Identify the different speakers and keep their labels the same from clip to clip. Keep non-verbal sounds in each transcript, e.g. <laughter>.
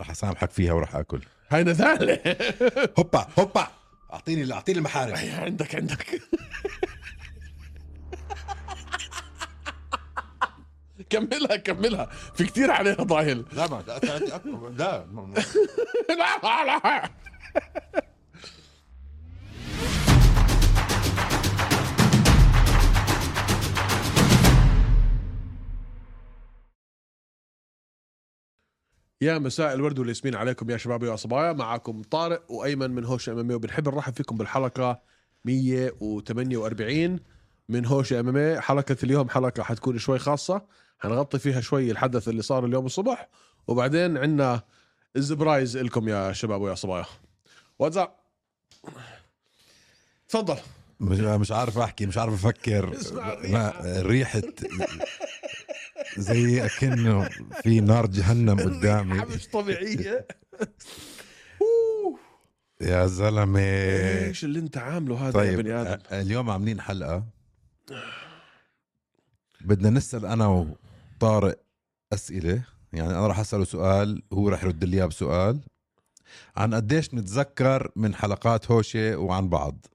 Speaker 1: رح اسامحك فيها وراح اكل
Speaker 2: هاي <laughs> نزالة
Speaker 1: هوبا هوبا اعطيني اعطيني المحارم
Speaker 2: هي عندك عندك <laughs> كملها كملها في كتير عليها ضايل
Speaker 1: <laughs> لا ما لا ثلاثة أكبر لا ممنوع.
Speaker 2: <laughs> لا لا لا يا مساء الورد والياسمين عليكم يا شباب ويا صبايا معكم طارق وايمن من هوش ام ام وبنحب نرحب فيكم بالحلقه 148 من هوش ام ام حلقه اليوم حلقه حتكون شوي خاصه حنغطي فيها شوي الحدث اللي صار اليوم الصبح وبعدين عندنا الزبرايز لكم يا شباب ويا صبايا واتساب تفضل
Speaker 1: مش مش عارف احكي مش عارف افكر
Speaker 2: اسمع
Speaker 1: ما ريحة زي اكنه في نار <laughs> جهنم قدامي
Speaker 2: <laughs> ريحة مش
Speaker 1: <laughs>
Speaker 2: طبيعيه
Speaker 1: يا زلمه
Speaker 2: ايش اللي انت عامله هذا يا
Speaker 1: إيه. طيب
Speaker 2: بني ادم
Speaker 1: أ- اليوم عاملين حلقه بدنا نسال انا وطارق اسئله يعني انا راح اساله سؤال هو راح يرد لي إياه بسؤال عن قديش نتذكر من حلقات هوشه وعن بعض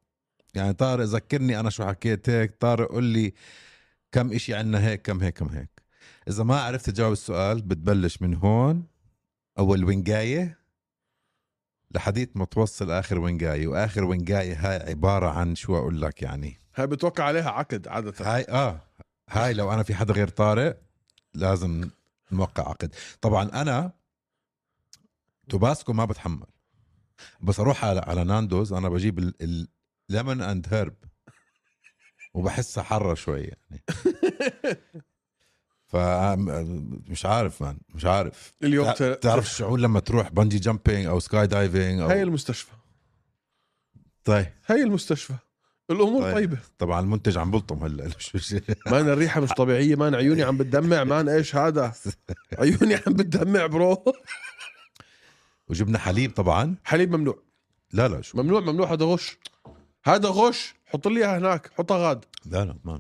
Speaker 1: يعني طارق ذكرني انا شو حكيت هيك طارق قول لي كم اشي عندنا هيك كم هيك كم هيك اذا ما عرفت تجاوب السؤال بتبلش من هون اول وينجايه لحديت ما توصل اخر وينجايه واخر وينجايه هاي عباره عن شو اقول لك يعني
Speaker 2: هاي بتوقع عليها عقد عاده
Speaker 1: هاي اه هاي لو انا في حدا غير طارق لازم نوقع عقد طبعا انا توباسكو ما بتحمل بس اروح على على ناندوز انا بجيب الليمون اند هيرب وبحسها حره شوي يعني <laughs> ف مش عارف مان مش عارف
Speaker 2: اليوم
Speaker 1: تع-
Speaker 2: ت-
Speaker 1: تعرف الشعور لما تروح بنجي جامبينج او سكاي دايفينج
Speaker 2: هاي
Speaker 1: او
Speaker 2: المستشفى
Speaker 1: طيب
Speaker 2: هاي المستشفى الامور
Speaker 1: طيب.
Speaker 2: طيب. طيبه
Speaker 1: طبعا المنتج عم بلطم هلا <laughs> شو شو-
Speaker 2: مان الريحه مش طبيعيه مان عيوني عم بتدمع مان
Speaker 1: <laughs>
Speaker 2: ايش هذا عيوني عم بتدمع برو
Speaker 1: وجبنا حليب طبعا
Speaker 2: حليب ممنوع
Speaker 1: لا لا شو
Speaker 2: ممنوع ممنوع هذا غش هذا غش حط لي اياها هناك حطها غاد
Speaker 1: لا لا ما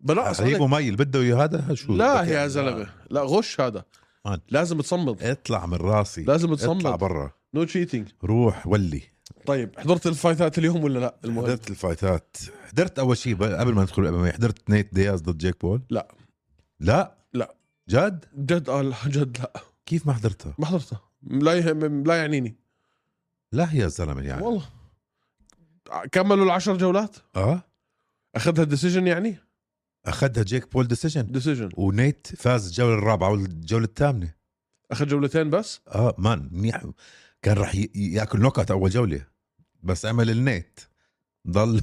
Speaker 2: بلا
Speaker 1: حليب
Speaker 2: أصلاً-
Speaker 1: ومي اللي بده اياه هذا شو
Speaker 2: لا
Speaker 1: بدك
Speaker 2: يا
Speaker 1: يعني؟
Speaker 2: زلمه لا غش هذا
Speaker 1: مان.
Speaker 2: لازم تصمد
Speaker 1: اطلع من راسي
Speaker 2: لازم
Speaker 1: اطلع
Speaker 2: تصمد
Speaker 1: إيه، برا
Speaker 2: نو تشيتنج
Speaker 1: روح ولي
Speaker 2: طيب حضرت الفايتات اليوم ولا لا المهم
Speaker 1: حضرت الفايتات حضرت اول شيء ب- قبل ما ندخل الامامية حضرت نيت دياز ضد جيك بول
Speaker 2: لا.
Speaker 1: لا
Speaker 2: لا.
Speaker 1: جد
Speaker 2: جد اه لا جد لا
Speaker 1: كيف ما حضرتها
Speaker 2: ما حضرتها لا يهم لا يعنيني
Speaker 1: لا يا زلمه يعني
Speaker 2: والله كملوا العشر جولات
Speaker 1: اه
Speaker 2: اخذها ديسيجن يعني
Speaker 1: اخذها جيك بول ديسيجن
Speaker 2: ديسيجن
Speaker 1: ونيت فاز الجوله الرابعه والجوله الثامنه
Speaker 2: اخذ جولتين بس
Speaker 1: اه مان منيح كان راح ي- ياكل نوك اوت اول جوله بس عمل النيت ضل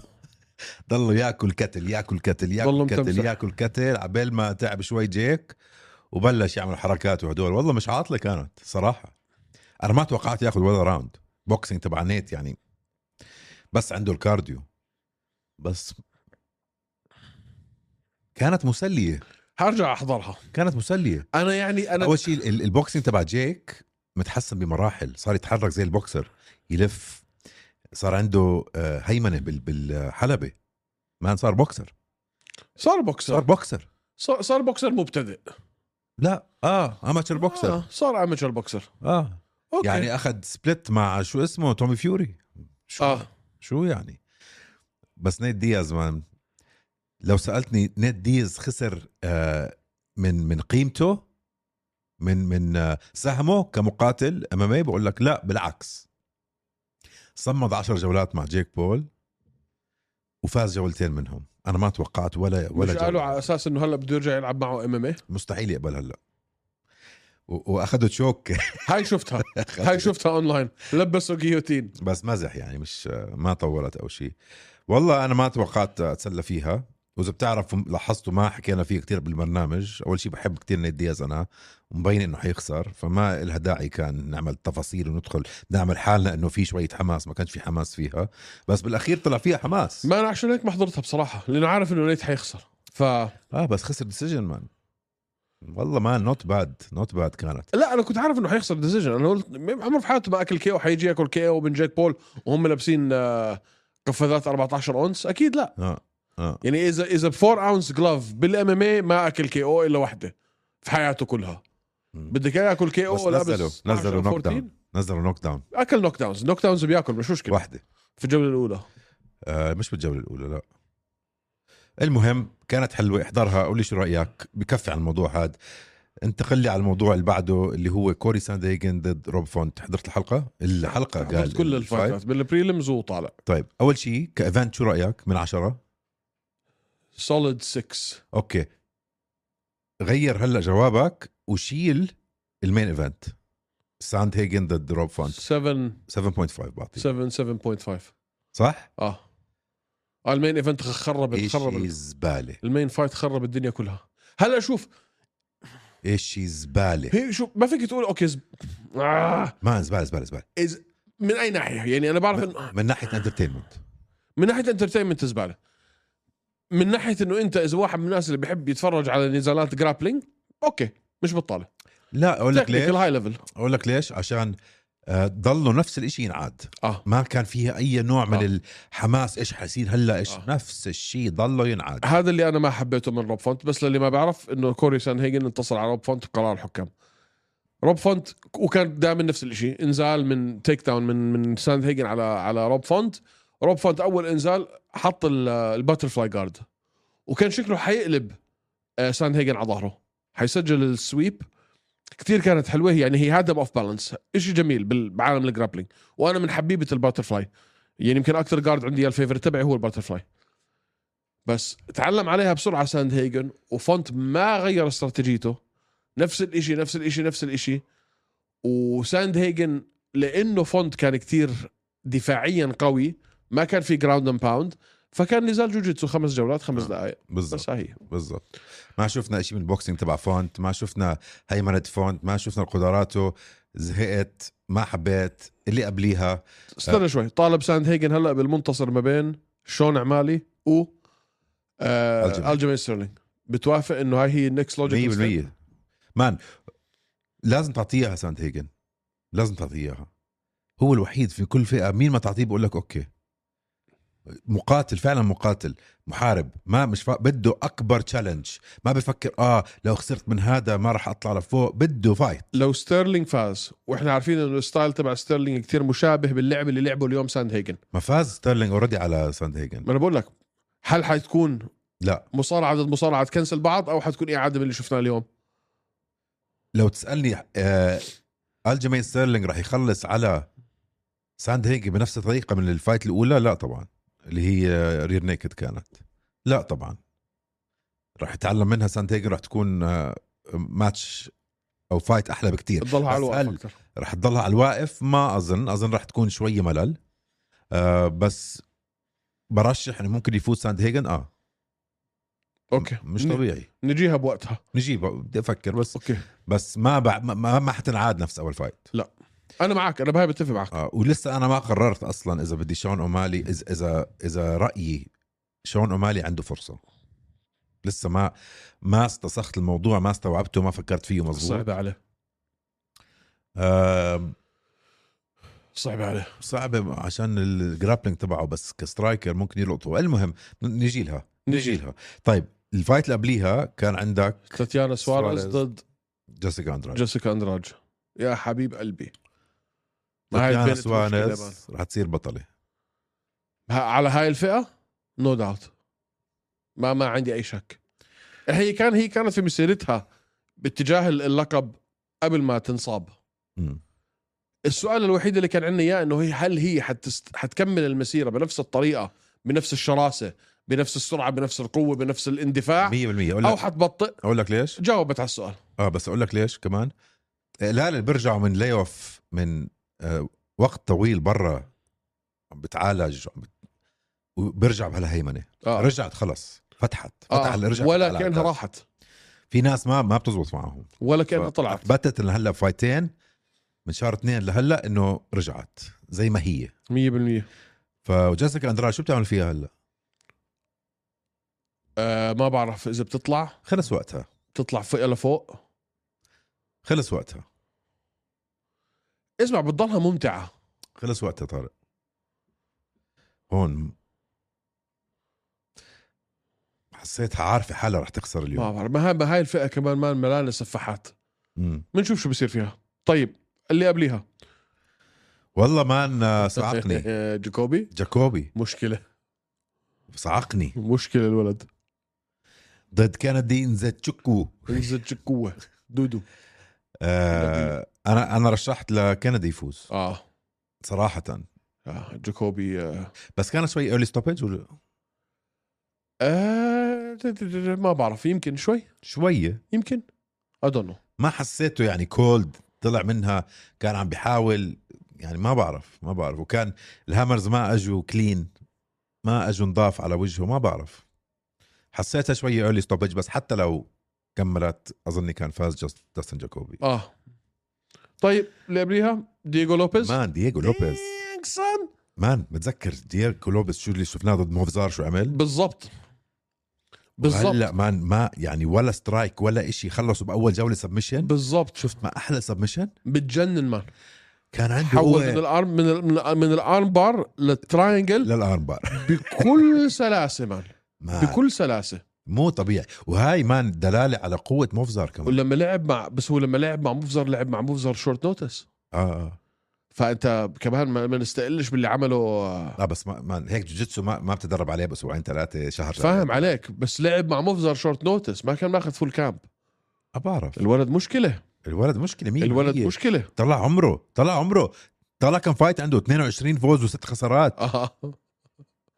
Speaker 1: <laughs> ضل ياكل كتل ياكل كتل
Speaker 2: ضل
Speaker 1: ياكل كتل
Speaker 2: متمسح.
Speaker 1: ياكل كتل عبال ما تعب شوي جيك وبلش يعمل حركات وهدول والله مش عاطله كانت صراحه انا ما توقعت ياخذ ولا راوند بوكسينج تبع نيت يعني بس عنده الكارديو بس كانت مسليه
Speaker 2: هرجع احضرها
Speaker 1: كانت مسليه
Speaker 2: انا يعني انا
Speaker 1: اول شيء ال- البوكسينج تبع جيك متحسن بمراحل صار يتحرك زي البوكسر يلف صار عنده آه، هيمنه بال- بالحلبه ما صار بوكسر
Speaker 2: صار
Speaker 1: صار
Speaker 2: بوكسر
Speaker 1: بوكسر
Speaker 2: صار, صار بوكسر مبتدئ
Speaker 1: لا اه اماتشر بوكسر
Speaker 2: آه صار اماتشر بوكسر
Speaker 1: اه
Speaker 2: اوكي يعني
Speaker 1: يعني اخذ سبلت مع شو اسمه تومي فيوري شو
Speaker 2: اه
Speaker 1: شو يعني بس نيت دياز مان لو سالتني نيت دياز خسر آه، من من قيمته من من آه، سهمه كمقاتل امامي بقول لك لا بالعكس صمد عشر جولات مع جيك بول وفاز جولتين منهم انا ما توقعت ولا
Speaker 2: مش
Speaker 1: ولا
Speaker 2: قالوا
Speaker 1: جولة.
Speaker 2: على اساس انه هلا بده يرجع يلعب معه ام ام
Speaker 1: مستحيل يقبل هلا و- واخده تشوك
Speaker 2: هاي شفتها <laughs> هاي شفتها اونلاين لبسوا جيوتين
Speaker 1: بس مزح يعني مش ما طولت او شيء والله انا ما توقعت اتسلى فيها واذا بتعرف لاحظتوا ما حكينا فيه كتير بالبرنامج اول شيء بحب كتير نيت دياز انا ومبين انه حيخسر فما إلها داعي كان نعمل تفاصيل وندخل نعمل حالنا انه في شويه حماس ما كانش في حماس فيها بس بالاخير طلع فيها حماس
Speaker 2: ما انا عشان هيك ما حضرتها بصراحه لانه عارف انه نيت حيخسر ف
Speaker 1: اه بس خسر ديسيجن مان والله ما نوت باد نوت باد كانت
Speaker 2: لا انا كنت عارف انه حيخسر ديسيجن انا قلت م- عمره في حياته ما اكل كيو حيجي ياكل كيو من جيك بول وهم لابسين آه، قفازات 14 اونس اكيد لا
Speaker 1: اه اه
Speaker 2: يعني اذا اذا ب 4 اونس جلاف بالام ام ما اكل كي او الا واحده في حياته كلها
Speaker 1: مم.
Speaker 2: بدك اياه ياكل كي
Speaker 1: بس
Speaker 2: او لابس
Speaker 1: نزلوا- نزلوا
Speaker 2: 12 أو
Speaker 1: knock down.
Speaker 2: 14.
Speaker 1: نزلوا نوك داون
Speaker 2: اكل نوك داونز نوك داونز بياكل مش مشكله
Speaker 1: واحده
Speaker 2: في الجوله الاولى
Speaker 1: آه مش بالجوله الاولى لا المهم كانت حلوه احضرها قول لي شو رايك بكفي عن الموضوع هذا انتقل لي على الموضوع اللي بعده اللي هو كوري سانديجن ضد روب فونت حضرت الحلقه الحلقه قال
Speaker 2: عملت كل الفايتات بالبريلمز وطالع
Speaker 1: طيب اول شيء كايفنت شو رايك من عشرة
Speaker 2: سوليد 6
Speaker 1: اوكي غير هلا جوابك وشيل المين ايفنت ساند هيجن ضد روب فونت
Speaker 2: 7
Speaker 1: 7.5 بعطيه
Speaker 2: 7 7.5
Speaker 1: صح؟
Speaker 2: اه آه، المين ايفنت خرب
Speaker 1: ايش
Speaker 2: خرب
Speaker 1: زباله
Speaker 2: المين فايت خرب الدنيا كلها هلا شوف
Speaker 1: ايش زباله
Speaker 2: هي شوف ما فيك تقول اوكي زب... آه
Speaker 1: ما زباله زباله زباله
Speaker 2: إز... من اي ناحيه يعني انا بعرف إن...
Speaker 1: من ناحيه انترتينمنت
Speaker 2: من ناحيه انترتينمنت زباله من ناحيه انه انت اذا واحد من الناس اللي بيحب يتفرج على نزالات جرابلينج اوكي مش بطاله
Speaker 1: لا اقول لك ليش
Speaker 2: تكنيكال هاي ليفل
Speaker 1: اقول لك ليش عشان آه، ضلوا نفس الشيء ينعاد
Speaker 2: اه
Speaker 1: ما كان فيها اي نوع من
Speaker 2: آه.
Speaker 1: الحماس ايش حيصير هلا ايش
Speaker 2: آه.
Speaker 1: نفس الشيء ضلوا ينعاد
Speaker 2: هذا اللي انا ما حبيته من روب فونت بس للي ما بعرف انه كوري سان هيجن انتصر على روب فونت بقرار الحكام روب فونت وكان دائما نفس الشيء انزال من تيك داون من من سان هيجن على على روب فونت روب فونت اول انزال حط الباتر فلاي جارد وكان شكله حيقلب آه، سان هيجن على ظهره حيسجل السويب كثير كانت حلوه هي، يعني هي هادم اوف بالانس شيء جميل بال- بعالم الجرابلينج وانا من حبيبه الباتر فلاي يعني يمكن اكثر جارد عندي الفيفورت تبعي هو الباتر فلاي بس تعلم عليها بسرعه ساند هيجن وفونت ما غير استراتيجيته نفس الاشي نفس الاشي نفس الاشي وساند هيجن لانه فونت كان كتير دفاعيا قوي ما كان في جراوند اند باوند فكان نزال جوجيتسو خمس جولات خمس
Speaker 1: آه.
Speaker 2: دقائق
Speaker 1: بالضبط آه.
Speaker 2: بس هي
Speaker 1: بالضبط ما شفنا شيء من البوكسينج تبع فونت ما شفنا هيمنه فونت ما شفنا قدراته زهقت ما حبيت اللي قبليها
Speaker 2: استنى شوي طالب ساند هيجن هلا بالمنتصر ما بين شون عمالي و
Speaker 1: ألجمين.
Speaker 2: آه الجيمين ستيرلينج بتوافق انه هاي هي النكست لوجيك
Speaker 1: 100% مان لازم تعطيها ساند هيجن لازم تعطيها هو الوحيد في كل فئه مين ما تعطيه بقول لك اوكي مقاتل فعلا مقاتل محارب ما مش فا... بده اكبر تشالنج ما بفكر اه لو خسرت من هذا ما راح اطلع لفوق بده فايت
Speaker 2: لو ستيرلينج فاز واحنا عارفين انه الستايل تبع ستيرلينج كتير مشابه باللعب اللي لعبه اليوم ساند هيجن
Speaker 1: ما فاز ستيرلينج اوريدي على ساند هيجن
Speaker 2: ما انا بقول لك هل حتكون
Speaker 1: لا.
Speaker 2: مصارعه ضد مصارعه تكنسل بعض او حتكون اعاده من اللي شفناه اليوم
Speaker 1: لو تسالني آه الجيمين ستيرلينج راح يخلص على ساند هيجن بنفس الطريقه من الفايت الاولى لا طبعا اللي هي آه، رير نيكد كانت لا طبعا راح يتعلم منها ساند هيجن راح تكون آه ماتش او فايت احلى بكتير
Speaker 2: تضلها على
Speaker 1: بس
Speaker 2: الوقت
Speaker 1: هل
Speaker 2: اكثر
Speaker 1: راح تضلها على الواقف ما اظن اظن راح تكون شوي ملل آه بس برشح انه ممكن يفوز ساند هيجن اه
Speaker 2: اوكي
Speaker 1: مش
Speaker 2: ن-
Speaker 1: طبيعي
Speaker 2: نجيها بوقتها
Speaker 1: نجيب بدي افكر بس
Speaker 2: اوكي
Speaker 1: بس ما بع... ما- ما ما حتنعاد نفس اول فايت
Speaker 2: انا معك انا بهاي بتفق معك
Speaker 1: آه ولسه انا ما قررت اصلا اذا بدي شون اومالي اذا اذا اذا رايي شون اومالي عنده فرصه لسه ما ما استسخت الموضوع ما استوعبته ما فكرت فيه مظبوط
Speaker 2: صعبه عليه
Speaker 1: آه
Speaker 2: صعبه عليه
Speaker 1: صعب عشان الجرابلينج تبعه بس كسترايكر ممكن يلقطه المهم نجي لها نجي لها طيب الفايت اللي قبليها كان عندك
Speaker 2: تاتيانا سواريز
Speaker 1: سواريز.
Speaker 2: ضد
Speaker 1: جيسيكا اندراج
Speaker 2: جيسيكا اندراج يا حبيب قلبي ما هاي
Speaker 1: تاتيانا
Speaker 2: البنت مشكلة يا مان.
Speaker 1: سوانس رح تصير بطله
Speaker 2: ه- على هاي الفئه نو no داوت ما ما عندي اي شك هي كان هي كانت في مسيرتها باتجاه اللقب قبل ما تنصاب
Speaker 1: مم.
Speaker 2: السؤال الوحيد اللي كان عندنا اياه انه هي هل هي حتست... حتكمل المسيره بنفس الطريقه بنفس الشراسه بنفس السرعه بنفس القوه بنفس الاندفاع
Speaker 1: 100% اقول
Speaker 2: او
Speaker 1: لك
Speaker 2: حتبطئ
Speaker 1: اقول لك ليش
Speaker 2: جاوبت على السؤال
Speaker 1: اه بس اقول لك ليش كمان آه، لا اللي بيرجعوا من لي اوف من آه، وقت طويل برا عم بتعالج عم بت- وبرجع بهالهيمنه
Speaker 2: اه
Speaker 1: رجعت خلص فتحت فتح
Speaker 2: آه.
Speaker 1: اللي رجعت
Speaker 2: ولا
Speaker 1: على
Speaker 2: كانها
Speaker 1: الأعداد.
Speaker 2: راحت
Speaker 1: في ناس ما ما بتزبط معهم
Speaker 2: ولا كانها طلعت
Speaker 1: اثبتت إن هلا فايتين من شهر اثنين لهلا انه رجعت زي ما هي
Speaker 2: 100%
Speaker 1: فجيسيكا اندرا شو بتعمل فيها هلا؟
Speaker 2: آه ما بعرف اذا بتطلع
Speaker 1: خلص وقتها
Speaker 2: بتطلع فوق لفوق
Speaker 1: خلص وقتها
Speaker 2: اسمع بتضلها ممتعه
Speaker 1: خلص وقتها طارق هون حسيتها عارفه حالها رح تخسر اليوم
Speaker 2: ما بعرف ما هاي ما هاي الفئه كمان مان ملانه سفاحات
Speaker 1: مم.
Speaker 2: بنشوف شو بصير فيها طيب اللي قبليها
Speaker 1: والله مان صعقني
Speaker 2: آه، جاكوبي
Speaker 1: جاكوبي
Speaker 2: مشكله
Speaker 1: صعقني
Speaker 2: مشكله الولد
Speaker 1: ضد كندي نزتشكو
Speaker 2: انزل قوه دودو
Speaker 1: آه انا انا رشحت لكندي يفوز
Speaker 2: اه
Speaker 1: صراحه
Speaker 2: آه، جاكوبي آه،
Speaker 1: بس كان شوي ايرلي ستوبج ولا
Speaker 2: آه، د- د- د- ما بعرف يمكن شوي
Speaker 1: شويه
Speaker 2: يمكن اظنه
Speaker 1: ما حسيته يعني كولد طلع منها كان عم بيحاول يعني ما بعرف ما بعرف وكان الهامرز ما اجوا كلين ما اجوا نضاف على وجهه ما بعرف حسيتها شوية ايرلي ستوبج بس حتى لو كملت اظني كان فاز جاست- جاستن جاكوبي
Speaker 2: اه طيب اللي قبليها دييغو لوبيز
Speaker 1: مان دييغو لوبيز
Speaker 2: Dang, son.
Speaker 1: مان متذكر دييغو لوبيز شو اللي شفناه ضد موفزار شو عمل
Speaker 2: بالضبط بالضبط
Speaker 1: هلا مان ما يعني ولا سترايك ولا إشي خلصوا باول جولة سبمشن
Speaker 2: بالضبط شفت
Speaker 1: شفت ما احلى سبمشن
Speaker 2: بتجنن مان
Speaker 1: كان عنده
Speaker 2: حول من
Speaker 1: قوة
Speaker 2: الارم من ال- من, ال- من الارم بار للتراينجل
Speaker 1: للارم بار
Speaker 2: بكل سلاسه مان
Speaker 1: مان.
Speaker 2: بكل سلاسه
Speaker 1: مو طبيعي وهاي مان دلاله على قوه مفزر كمان
Speaker 2: ولما لعب مع بس هو لما لعب مع مفزر لعب مع مفزر شورت نوتس
Speaker 1: اه
Speaker 2: فانت كمان ما ما نستقلش باللي عمله آه،
Speaker 1: لا بس ما مان هيك جوجيتسو ما, ما بتدرب عليه باسبوعين ثلاثه شهر
Speaker 2: فاهم عليك بس لعب مع مفزر شورت نوتس ما كان ماخذ فول كامب
Speaker 1: ما بعرف
Speaker 2: الولد مشكله
Speaker 1: الولد مشكله مين
Speaker 2: الولد
Speaker 1: هي؟
Speaker 2: مشكله
Speaker 1: طلع عمره طلع عمره طلع كم فايت عنده 22 فوز وست خسارات
Speaker 2: آه.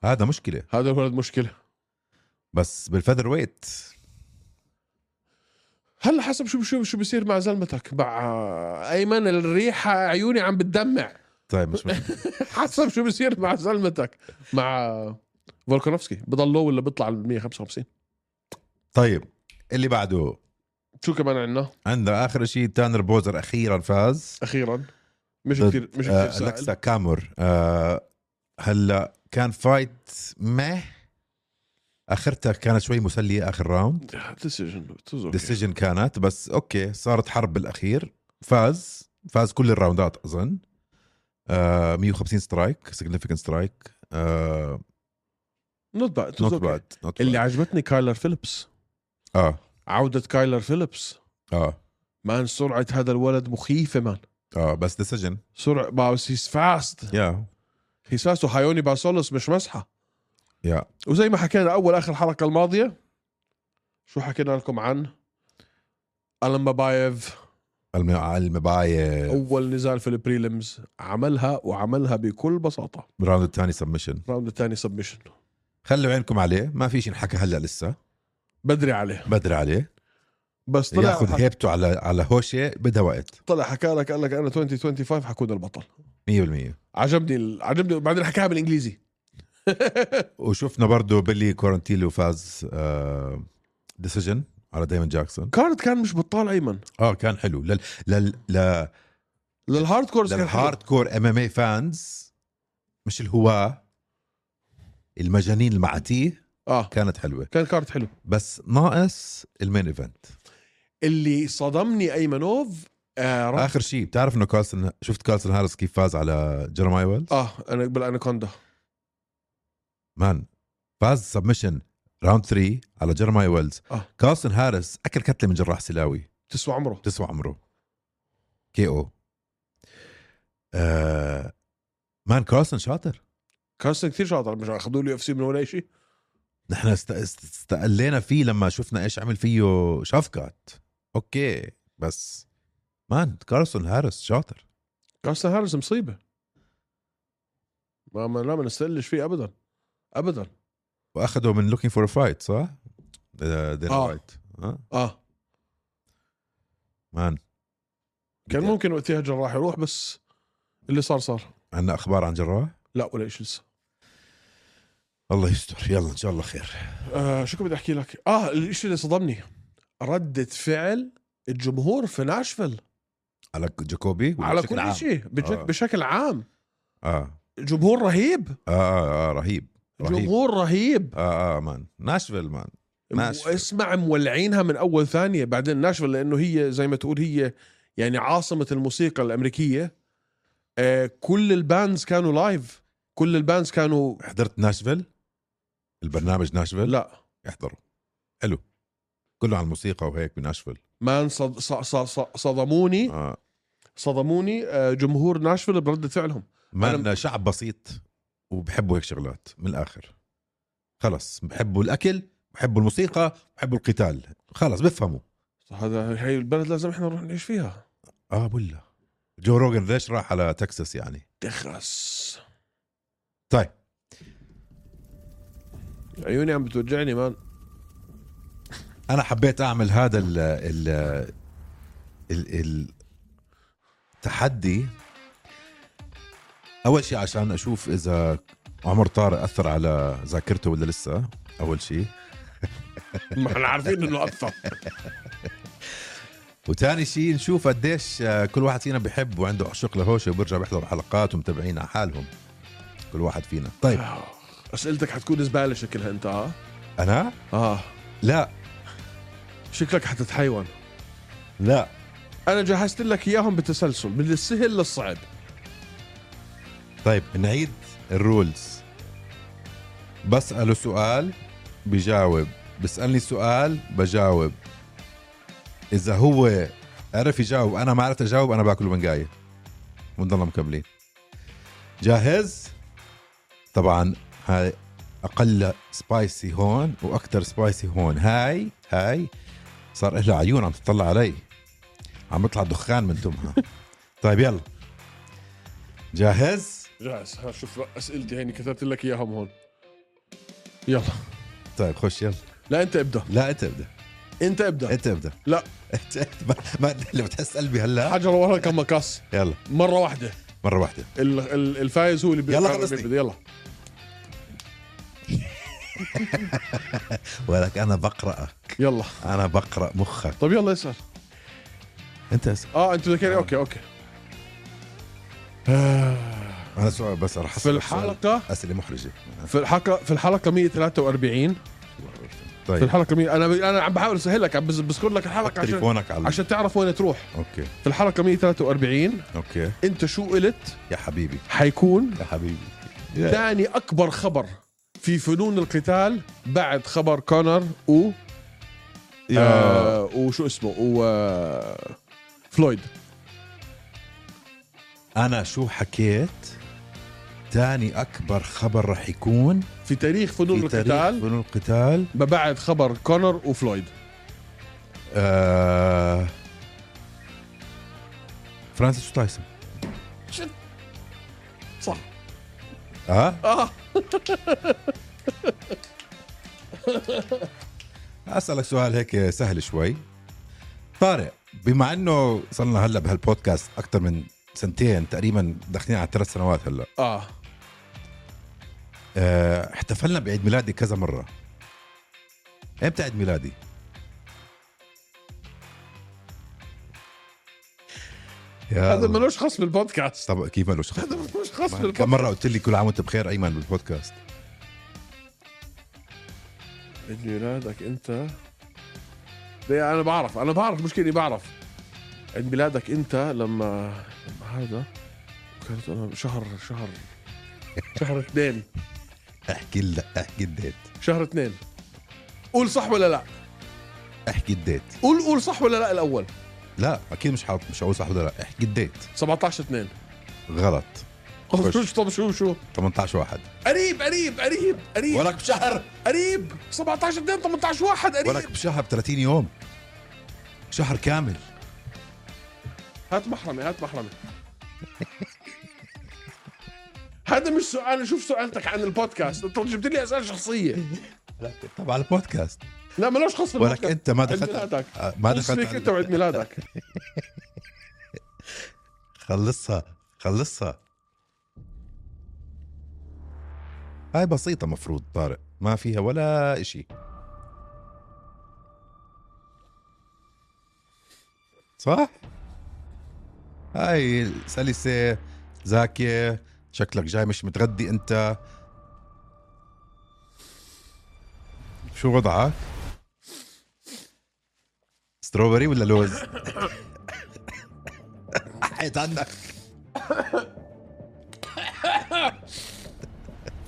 Speaker 1: هذا مشكله
Speaker 2: هذا الولد مشكله
Speaker 1: بس بالفذر ويت
Speaker 2: هلا حسب شو شو شو بصير مع زلمتك مع آه، ايمن الريحه عيوني عم بتدمع
Speaker 1: طيب مش
Speaker 2: <laughs>
Speaker 1: مشكله
Speaker 2: حسب شو بصير مع زلمتك مع آه، فولكانوفسكي بضل لو ولا بيطلع ال 155
Speaker 1: طيب اللي بعده
Speaker 2: شو كمان عندنا
Speaker 1: عندنا اخر شيء تانر بوزر اخيرا فاز
Speaker 2: اخيرا مش
Speaker 1: ضد،
Speaker 2: كثير مش
Speaker 1: آه،
Speaker 2: كثير سهل
Speaker 1: ألكسا كامور آه، هلا كان فايت مه اخرتها كانت شوي مسليه اخر راوند
Speaker 2: ديسيجن
Speaker 1: ديسيجن كانت بس اوكي صارت حرب بالاخير فاز فاز كل الراوندات اظن آه 150 سترايك سيجنفكنت سترايك آه،
Speaker 2: نوت باد
Speaker 1: نوت باد نوت
Speaker 2: اللي
Speaker 1: اللي
Speaker 2: عجبتني كايلر فيليبس
Speaker 1: اه
Speaker 2: عوده كايلر فيليبس
Speaker 1: اه
Speaker 2: مان سرعه هذا الولد مخيفه مان
Speaker 1: اه بس ديسيجن
Speaker 2: سرعه بس هيز فاست
Speaker 1: يا
Speaker 2: هيساسو هايوني باسولس مش مسحه
Speaker 1: يا
Speaker 2: وزي ما حكينا اول اخر حلقه الماضيه شو حكينا لكم عن ألم بايف
Speaker 1: المباية
Speaker 2: اول نزال في البريلمز عملها وعملها بكل بساطه
Speaker 1: الراوند الثاني سبمشن
Speaker 2: الراوند الثاني سبمشن
Speaker 1: خلوا عينكم عليه ما في شيء انحكى هلا لسه
Speaker 2: بدري عليه
Speaker 1: بدري عليه
Speaker 2: بس طلع
Speaker 1: ياخذ
Speaker 2: حك...
Speaker 1: هيبته على على هوشه بدها وقت
Speaker 2: طلع حكى لك قال لك انا 2025 حكون البطل
Speaker 1: 100%
Speaker 2: عجبني ال... عجبني بعدين حكاها بالانجليزي
Speaker 1: وشفنا برضه بيلي كورنتيلو فاز آه ديسيجن على دايمون جاكسون
Speaker 2: كارد كان مش بطال ايمن
Speaker 1: اه كان حلو لل لل لل
Speaker 2: للهارد كورز كان حلو.
Speaker 1: للهارد كور ام ام اي فانز مش الهواة المجانين المعتيه
Speaker 2: اه
Speaker 1: كانت حلوه
Speaker 2: كان كارد حلو
Speaker 1: بس ناقص المين ايفنت
Speaker 2: اللي صدمني ايمنوف آه رب-
Speaker 1: اخر شيء بتعرف انه كارلسون شفت كارلسون هارس كيف فاز على جيرماي ويلز
Speaker 2: اه انا بالاناكوندا
Speaker 1: مان فاز سبمشن راوند 3 على جيرماي ويلز
Speaker 2: آه.
Speaker 1: كارلسون هارس اكل كتله من جراح سلاوي
Speaker 2: تسوى عمره
Speaker 1: تسوى عمره كي او آه مان كارسون شاطر
Speaker 2: كارسن كثير شاطر مش اخذوا له اف سي من ولا شيء
Speaker 1: نحن است- است- استقلينا فيه لما شفنا ايش عمل فيه شافكات اوكي بس مان كارسون هارس شاطر
Speaker 2: كارسن هارس مصيبه ما ما لا ما نستقلش فيه ابدا ابدا
Speaker 1: واخده من لوكينج فور فايت صح؟
Speaker 2: آه.
Speaker 1: دينا آه.
Speaker 2: اه
Speaker 1: مان
Speaker 2: كان
Speaker 1: بدي-
Speaker 2: ممكن وقتها جراح يروح بس اللي صار صار
Speaker 1: عندنا اخبار عن جراح
Speaker 2: لا ولا شيء لسه
Speaker 1: الله يستر يلا ان شاء الله خير
Speaker 2: آه شو كنت بدي احكي لك اه الشيء اللي صدمني ردة فعل الجمهور في ناشفيل
Speaker 1: على جاكوبي ولا
Speaker 2: على
Speaker 1: نعم، بشكل
Speaker 2: كل
Speaker 1: عام؟
Speaker 2: شيء بشك-
Speaker 1: آه.
Speaker 2: بشكل عام
Speaker 1: آه.
Speaker 2: جمهور رهيب
Speaker 1: آه, اه اه رهيب رهيب
Speaker 2: جمهور رهيب
Speaker 1: اه اه مان ناشفيل مان ناشفيل.
Speaker 2: واسمع مولعينها من اول ثانيه بعدين ناشفيل لانه هي زي ما تقول هي يعني عاصمه الموسيقى الامريكيه آه كل الباندز كانوا لايف كل الباندز كانوا
Speaker 1: حضرت ناشفيل البرنامج ناشفيل
Speaker 2: لا
Speaker 1: احضروا حلو كله عن الموسيقى وهيك بناشفيل
Speaker 2: مان صد... ص... ص... ص... صدموني
Speaker 1: آه.
Speaker 2: صدموني آه، جمهور ناشفيل برده فعلهم
Speaker 1: ما
Speaker 2: أنا-
Speaker 1: شعب بسيط وبحبوا هيك شغلات من الاخر خلص بحبوا الاكل بحبوا الموسيقى بحبوا القتال خلص بفهموا
Speaker 2: هذا هي البلد لازم احنا نروح نعيش فيها
Speaker 1: اه ولا جو روجن ليش راح على تكساس يعني
Speaker 2: تخرس
Speaker 1: طيب
Speaker 2: عيوني عم بتوجعني مان
Speaker 1: انا حبيت اعمل هذا ال ال ال ال التحدي اول شيء عشان اشوف اذا عمر طارق اثر على ذاكرته ولا لسه اول شيء
Speaker 2: ما احنا عارفين انه اثر <laughs>
Speaker 1: وتاني شيء نشوف قديش آه، كل واحد فينا بحب وعنده عشق لهوشه وبرجع بيحضر حلقات ومتابعين على حالهم كل واحد فينا طيب
Speaker 2: اسئلتك حتكون زباله شكلها انت ها
Speaker 1: انا
Speaker 2: اه
Speaker 1: لا
Speaker 2: شكلك حتتحيون
Speaker 1: لا
Speaker 2: انا جهزت لك اياهم بتسلسل من السهل للصعب
Speaker 1: طيب نعيد الرولز بسأله سؤال بجاوب بسألني سؤال بجاوب إذا هو عرف يجاوب أنا ما عرفت أجاوب أنا باكل بنقاية ونضلنا مكملين جاهز؟ طبعا هاي أقل سبايسي هون وأكثر سبايسي هون هاي هاي صار إلها عيون عم تطلع علي عم يطلع دخان من تمها <laughs> طيب يلا جاهز؟
Speaker 2: جاهز ها شوف اسئلتي هيني كتبت لك اياهم هون يلا
Speaker 1: طيب خش يلا
Speaker 2: لا انت ابدا
Speaker 1: لا انت ابدا
Speaker 2: انت ابدا
Speaker 1: انت ابدا <laughs>
Speaker 2: لا
Speaker 1: انت ما, ما لو بتحس قلبي هلا
Speaker 2: حجر ورقه كم مقص
Speaker 1: يلا
Speaker 2: مره واحده
Speaker 1: مره واحده
Speaker 2: ال- ال- الفايز هو اللي
Speaker 1: يلا
Speaker 2: بيقرر
Speaker 1: خلصني.
Speaker 2: بيبدأ. يلا
Speaker 1: ولك انا بقراك
Speaker 2: يلا
Speaker 1: انا بقرا مخك
Speaker 2: طب يلا اسال
Speaker 1: انت اسال
Speaker 2: اه انت ذكرني اوكي اوكي
Speaker 1: انا سؤال بس رح
Speaker 2: في الحلقه
Speaker 1: اسئله محرجه
Speaker 2: في الحلقه في الحلقه 143 في
Speaker 1: طيب
Speaker 2: الحلقه 100 انا انا عم بحاول اسهلك عم بز- بذكر لك الحلقه عشان
Speaker 1: تليفونك على
Speaker 2: عشان تعرف وين تروح
Speaker 1: اوكي
Speaker 2: في الحلقه 143
Speaker 1: اوكي
Speaker 2: انت شو قلت
Speaker 1: يا حبيبي
Speaker 2: حيكون
Speaker 1: يا حبيبي
Speaker 2: ثاني اكبر خبر في فنون القتال بعد خبر كونر و
Speaker 1: يا
Speaker 2: آه وشو اسمه و آه، فلويد
Speaker 1: انا شو حكيت تاني اكبر خبر رح يكون
Speaker 2: في تاريخ فنون
Speaker 1: في تاريخ
Speaker 2: القتال
Speaker 1: فنون القتال
Speaker 2: ما بعد خبر كونر وفلويد
Speaker 1: آه فرانسيس تايسون
Speaker 2: صح
Speaker 1: اه
Speaker 2: اه
Speaker 1: اسالك سؤال هيك سهل شوي طارق بما انه صرنا هلا بهالبودكاست اكثر من سنتين تقريبا داخلين على ثلاث سنوات هلا
Speaker 2: اه
Speaker 1: آه، احتفلنا بعيد ميلادي كذا مره امتى عيد ميلادي يا
Speaker 2: هذا
Speaker 1: الله.
Speaker 2: ملوش خص بالبودكاست <laughs>
Speaker 1: طب كيف مالوش خط؟
Speaker 2: هذا ملوش
Speaker 1: كم
Speaker 2: خص بالبودكاست
Speaker 1: مره قلت لي كل عام وانت بخير ايمن بالبودكاست
Speaker 2: عيد ميلادك انت ليه انا بعرف انا بعرف مش كني بعرف عيد ميلادك انت لما, لما هذا كانت انا شهر شهر شهر اثنين
Speaker 1: احكي لا احكي الديت
Speaker 2: شهر اثنين قول صح ولا لا
Speaker 1: احكي الديت
Speaker 2: قول قول صح ولا لا الاول
Speaker 1: لا اكيد مش حاط مش هقول صح ولا لا احكي الديت
Speaker 2: 17 2
Speaker 1: غلط خش.
Speaker 2: شو طب شو شو
Speaker 1: 18 واحد
Speaker 2: قريب قريب قريب قريب
Speaker 1: ولك بشهر
Speaker 2: قريب 17 2 18 واحد قريب
Speaker 1: ولك بشهر ب 30 يوم شهر كامل
Speaker 2: هات محرمي هات محرمي هذا مش سؤال شوف سؤالتك عن البودكاست انت جبت لي اسئله شخصيه
Speaker 1: ولك طب على البودكاست
Speaker 2: لا ملوش خص بالبودكاست
Speaker 1: ولك انت ما
Speaker 2: عيد
Speaker 1: دخلت
Speaker 2: ميلادك
Speaker 1: آه، ما
Speaker 2: ايش فيك انت
Speaker 1: دخلت
Speaker 2: وعيد ميلادك
Speaker 1: خلصها خلصها هاي بسيطة مفروض طارق ما فيها ولا اشي صح؟ هاي سلسة زاكية شكلك جاي مش متغدي انت شو وضعك؟ ستروبري ولا لوز؟ <laughs> حيت عنك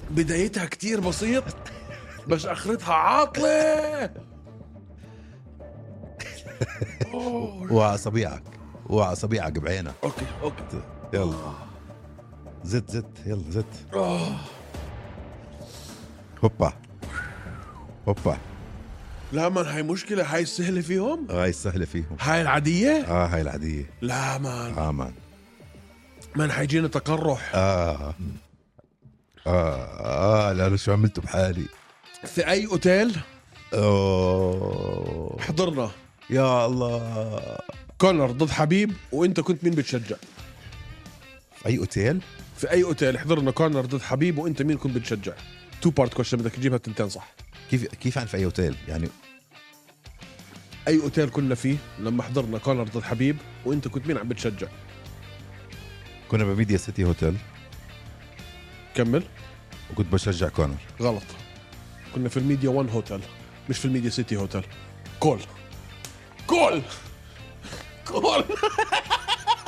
Speaker 2: بدايتها كتير بسيط بس اخرتها عاطله
Speaker 1: واصابيعك واصابيعك بعينك
Speaker 2: اوكي اوكي
Speaker 1: يلا زت زت يلا زت
Speaker 2: آه.
Speaker 1: هوبا هوبا
Speaker 2: لا مان هاي مشكله هاي السهله فيهم
Speaker 1: هاي السهله فيهم
Speaker 2: هاي العاديه
Speaker 1: اه هاي العاديه
Speaker 2: لا مان
Speaker 1: اه مان
Speaker 2: مان حيجينا تقرح
Speaker 1: اه اه اه لا أنا شو عملته بحالي
Speaker 2: في اي اوتيل
Speaker 1: اوه
Speaker 2: حضرنا
Speaker 1: يا الله
Speaker 2: كونر ضد حبيب وانت كنت مين بتشجع
Speaker 1: اي اوتيل
Speaker 2: في اي اوتيل حضرنا كونر ضد حبيب وانت مين كنت بتشجع تو بارت كويشن بدك تجيبها تنتين صح
Speaker 1: كيف كيف عن في اي اوتيل يعني
Speaker 2: اي اوتيل كنا فيه لما حضرنا كونر ضد حبيب وانت كنت مين عم بتشجع
Speaker 1: كنا بميديا سيتي هوتيل
Speaker 2: كمل
Speaker 1: وكنت بشجع كونر
Speaker 2: غلط كنا في الميديا 1 هوتيل مش في الميديا سيتي هوتيل كول كول كول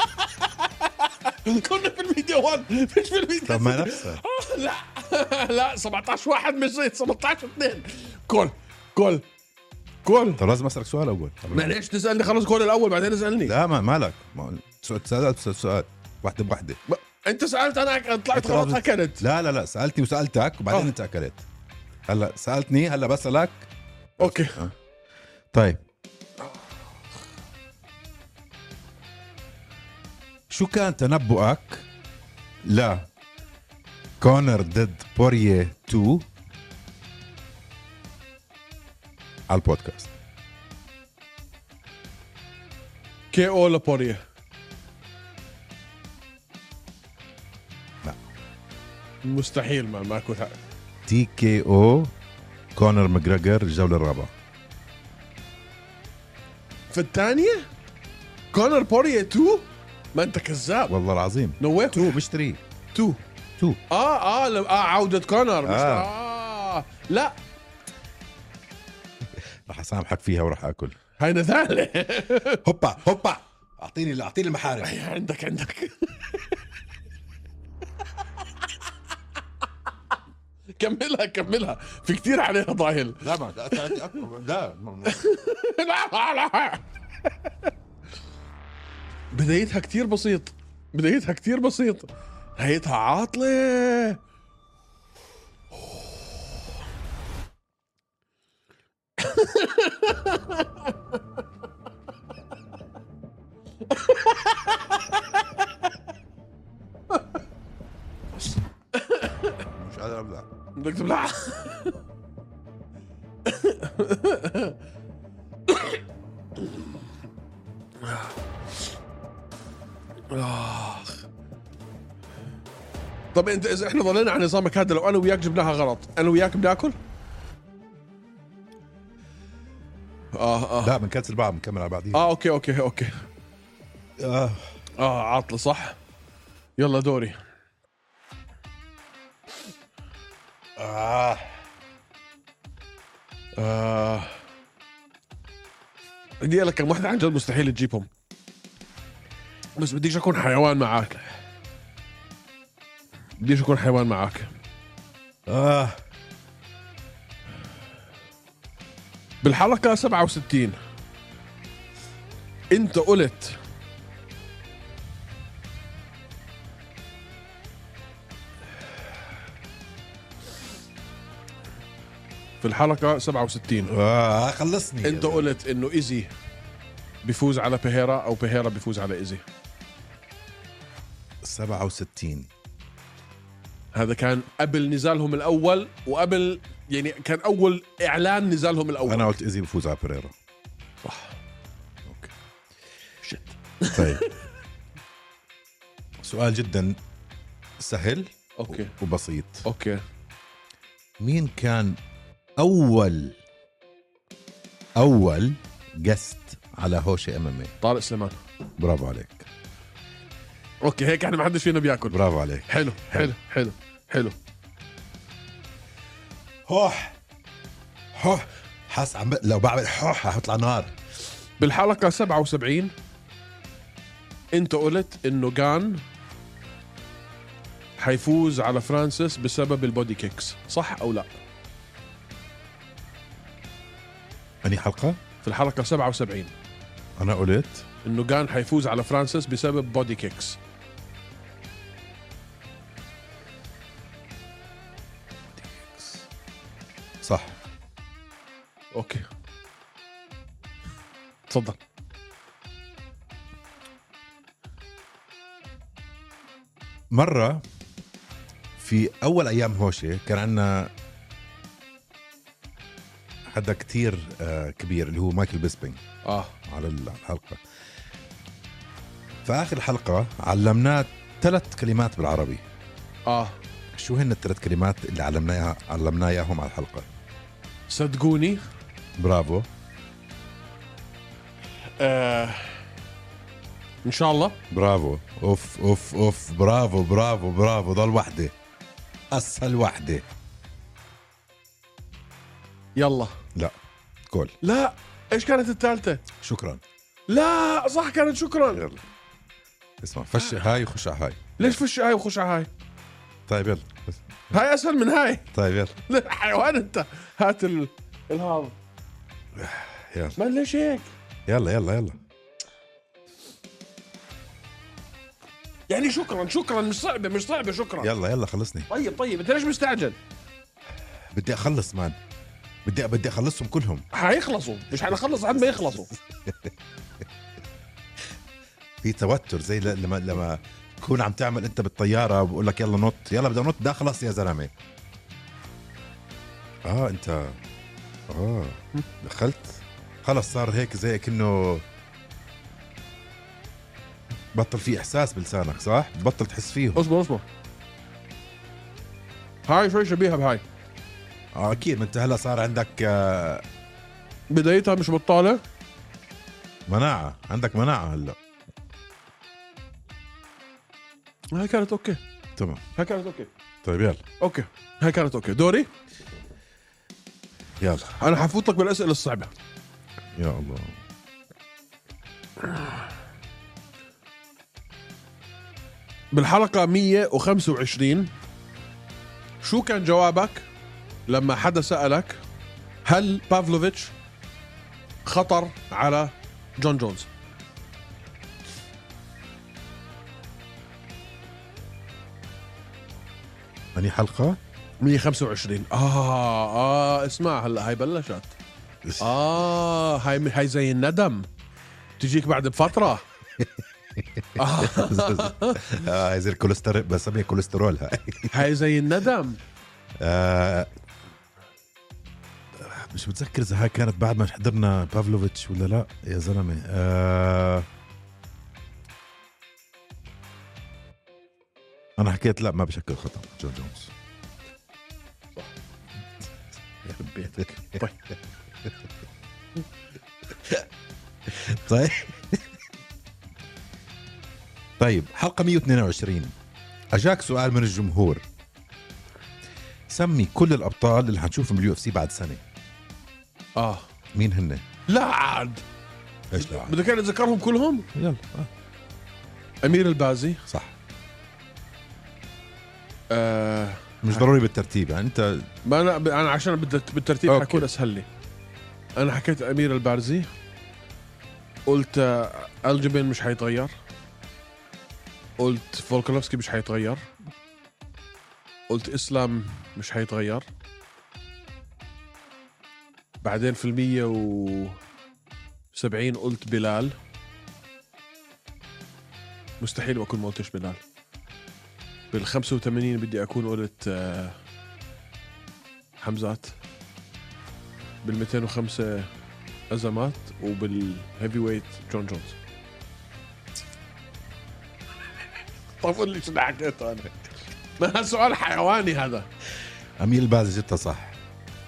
Speaker 2: <laughs> كنا في الميديا 1 مش في الميديا
Speaker 1: طب ما
Speaker 2: سيتي.
Speaker 1: نفسها.
Speaker 2: آه، <laughs> لا لا 17 واحد مش زي 17 اثنين كول كول كول
Speaker 1: طب لازم اسالك سؤال اول
Speaker 2: ما ليش تسالني خلص كول الاول بعدين اسالني
Speaker 1: لا ما مالك ما- سؤال سألت سؤال- سؤال واحده بواحده
Speaker 2: ما- انت سالت انا طلعت
Speaker 1: أنت
Speaker 2: غلط
Speaker 1: لازم-
Speaker 2: اكلت
Speaker 1: لا لا لا سالتي وسالتك وبعدين
Speaker 2: آه.
Speaker 1: انت اكلت هلا سالتني هلا بسالك
Speaker 2: اوكي
Speaker 1: آه. طيب شو كان تنبؤك لا كونر ضد بوريه 2 على البودكاست
Speaker 2: كي او لابوريا
Speaker 1: لا.
Speaker 2: مستحيل ما ما كنت ه-
Speaker 1: تي كي او كونر ماجريجر الجوله الرابعه
Speaker 2: في الثانية كونر بوريا 2 ما انت كذاب
Speaker 1: والله العظيم
Speaker 2: نو واي
Speaker 1: 2 مش 3
Speaker 2: 2
Speaker 1: 2
Speaker 2: اه اه لم- اه عودة كونر مش
Speaker 1: آه.
Speaker 2: آه. لا
Speaker 1: رح اسامحك فيها وراح اكل
Speaker 2: هاي نذالة
Speaker 1: هوبا هوبا اعطيني اعطيني المحارم
Speaker 2: عندك عندك كملها كملها في كتير عليها ضايل
Speaker 1: لا ما لا
Speaker 2: لا لا لا بدايتها كتير بسيط بدايتها كتير بسيط نهايتها عاطلة
Speaker 1: مش قادر ابلع
Speaker 2: بدك تبلع آخ. طب انت اذا احنا ضلينا على نظامك هذا لو انا وياك جبناها غلط انا وياك بناكل اه اه
Speaker 1: لا بنكنسل بعض بنكمل على بعضيها
Speaker 2: اه اوكي اوكي اوكي
Speaker 1: آه.
Speaker 2: اه عاطله صح يلا دوري
Speaker 1: آه.
Speaker 2: آه. بدي اقول لك كم واحدة عن جد مستحيل تجيبهم بس بديش اكون حيوان معك بديش اكون حيوان معك
Speaker 1: اه
Speaker 2: بالحلقة 67 انت قلت في الحلقة 67
Speaker 1: اه خلصني
Speaker 2: انت قلت انه ايزي بيفوز على بهيرا او بهيرا بيفوز على ايزي
Speaker 1: 67
Speaker 2: هذا كان قبل نزالهم الاول وقبل يعني كان اول اعلان نزالهم الاول
Speaker 1: انا قلت ايزي بفوز على بريرا
Speaker 2: صح
Speaker 1: اوكي
Speaker 2: شت
Speaker 1: طيب <laughs> سؤال جدا سهل
Speaker 2: اوكي
Speaker 1: وبسيط
Speaker 2: اوكي
Speaker 1: مين كان اول اول جست على هوشي ام ام
Speaker 2: طارق سليمان
Speaker 1: إيه؟ برافو عليك
Speaker 2: اوكي هيك احنا ما حدش فينا بياكل
Speaker 1: برافو عليك
Speaker 2: حلو حلو حلو حلو
Speaker 1: هوح هوح حاس عم ب- لو بعمل هوح هطلع نار
Speaker 2: بالحلقة 77 انت قلت انه جان حيفوز على فرانسيس بسبب البودي كيكس صح او لا
Speaker 1: اني حلقه
Speaker 2: في الحلقة 77
Speaker 1: انا قلت
Speaker 2: انه جان حيفوز على فرانسيس بسبب بودي كيكس
Speaker 1: صح
Speaker 2: اوكي تفضل
Speaker 1: مره في اول ايام هوشه كان عندنا حدا كتير آه، كبير اللي هو مايكل بيسبينج
Speaker 2: اه
Speaker 1: على ال- على الحلقه فاخر حلقه علمناه ثلاث كلمات بالعربي
Speaker 2: اه
Speaker 1: شو هن الثلاث كلمات اللي علمناها علمنا اياهم على الحلقه
Speaker 2: صدقوني
Speaker 1: برافو
Speaker 2: آه. ان شاء الله
Speaker 1: برافو اوف اوف اوف برافو برافو برافو ضل وحده اسهل وحده
Speaker 2: يلا
Speaker 1: لا كل
Speaker 2: لا ايش كانت الثالثه
Speaker 1: شكرا
Speaker 2: لا صح كانت شكرا
Speaker 1: يلا اسمع فش هاي وخش على هاي
Speaker 2: ليش فش هاي وخش على هاي
Speaker 1: طيب يلا بس-
Speaker 2: هاي اسهل من هاي
Speaker 1: طيب يلا
Speaker 2: لا، حيوان انت هات ال... الهذا
Speaker 1: يلا
Speaker 2: ما ليش هيك
Speaker 1: يلا يلا يلا
Speaker 2: يعني شكرا شكرا مش صعبه مش صعبه شكرا
Speaker 1: يلا يلا خلصني
Speaker 2: طيب طيب انت ليش مستعجل
Speaker 1: بدي اخلص مان بدي بدي اخلصهم كلهم
Speaker 2: حيخلصوا مش حنخلص عند ما يخلصوا
Speaker 1: في توتر زي ل- لما لما تكون عم تعمل انت بالطياره بقول لك يلا نط يلا بدنا نط ده خلص يا زلمه اه انت اه دخلت خلص صار هيك زي كانه بطل في احساس بلسانك صح بطل تحس فيه
Speaker 2: اصبر اصبر هاي شوي شبيهه بهاي
Speaker 1: اه اكيد ما انت هلا صار عندك آه،
Speaker 2: بدايتها مش بطاله
Speaker 1: مناعه عندك مناعه هلا
Speaker 2: هاي كانت اوكي
Speaker 1: تمام
Speaker 2: هاي كانت اوكي
Speaker 1: طيب يلا
Speaker 2: اوكي هاي كانت اوكي دوري
Speaker 1: يلا
Speaker 2: انا حفوت لك بالاسئله الصعبه
Speaker 1: يا الله
Speaker 2: بالحلقه 125 شو كان جوابك لما حدا سالك هل بافلوفيتش خطر على جون جونز
Speaker 1: اني <laughs> حلقه
Speaker 2: 125 اه اه اسمع هلا هاي بلشت اه هاي هاي زي الندم تجيك بعد بفتره آه
Speaker 1: اه هاي زي الكوليسترول بسميها كوليسترول هاي
Speaker 2: هاي زي الندم
Speaker 1: آه، مش متذكر اذا هاي كانت بعد ما حضرنا بافلوفيتش ولا لا يا زلمه آه انا حكيت لا ما بشكل خطا جون جونز
Speaker 2: يخرب بيتك طيب
Speaker 1: طيب طيب حلقة 122 أجاك سؤال من الجمهور سمي كل الأبطال اللي حنشوفهم باليو اف سي بعد سنة
Speaker 2: اه
Speaker 1: مين هن؟
Speaker 2: لا عاد
Speaker 1: ايش لا
Speaker 2: بدك انا اتذكرهم كلهم
Speaker 1: يلا آه.
Speaker 2: امير البازي
Speaker 1: صح
Speaker 2: آه
Speaker 1: مش ضروري بالترتيب يعني انت
Speaker 2: ما انا انا عشان بدت بالترتيب
Speaker 1: أوكي.
Speaker 2: حكون اسهل لي انا حكيت امير البارزي قلت آه، الجبين مش حيتغير قلت فولكانوفسكي مش حيتغير قلت اسلام مش حيتغير بعدين في المية و سبعين قلت بلال مستحيل أكون ما قلتش بلال بالخمسة وثمانين بدي أكون قلت آه، حمزات بال 205 ازمات وبالهيفي ويت جون جونز طب قول لي شو حكيت انا ما سؤال حيواني هذا
Speaker 1: اميل باز جبتها صح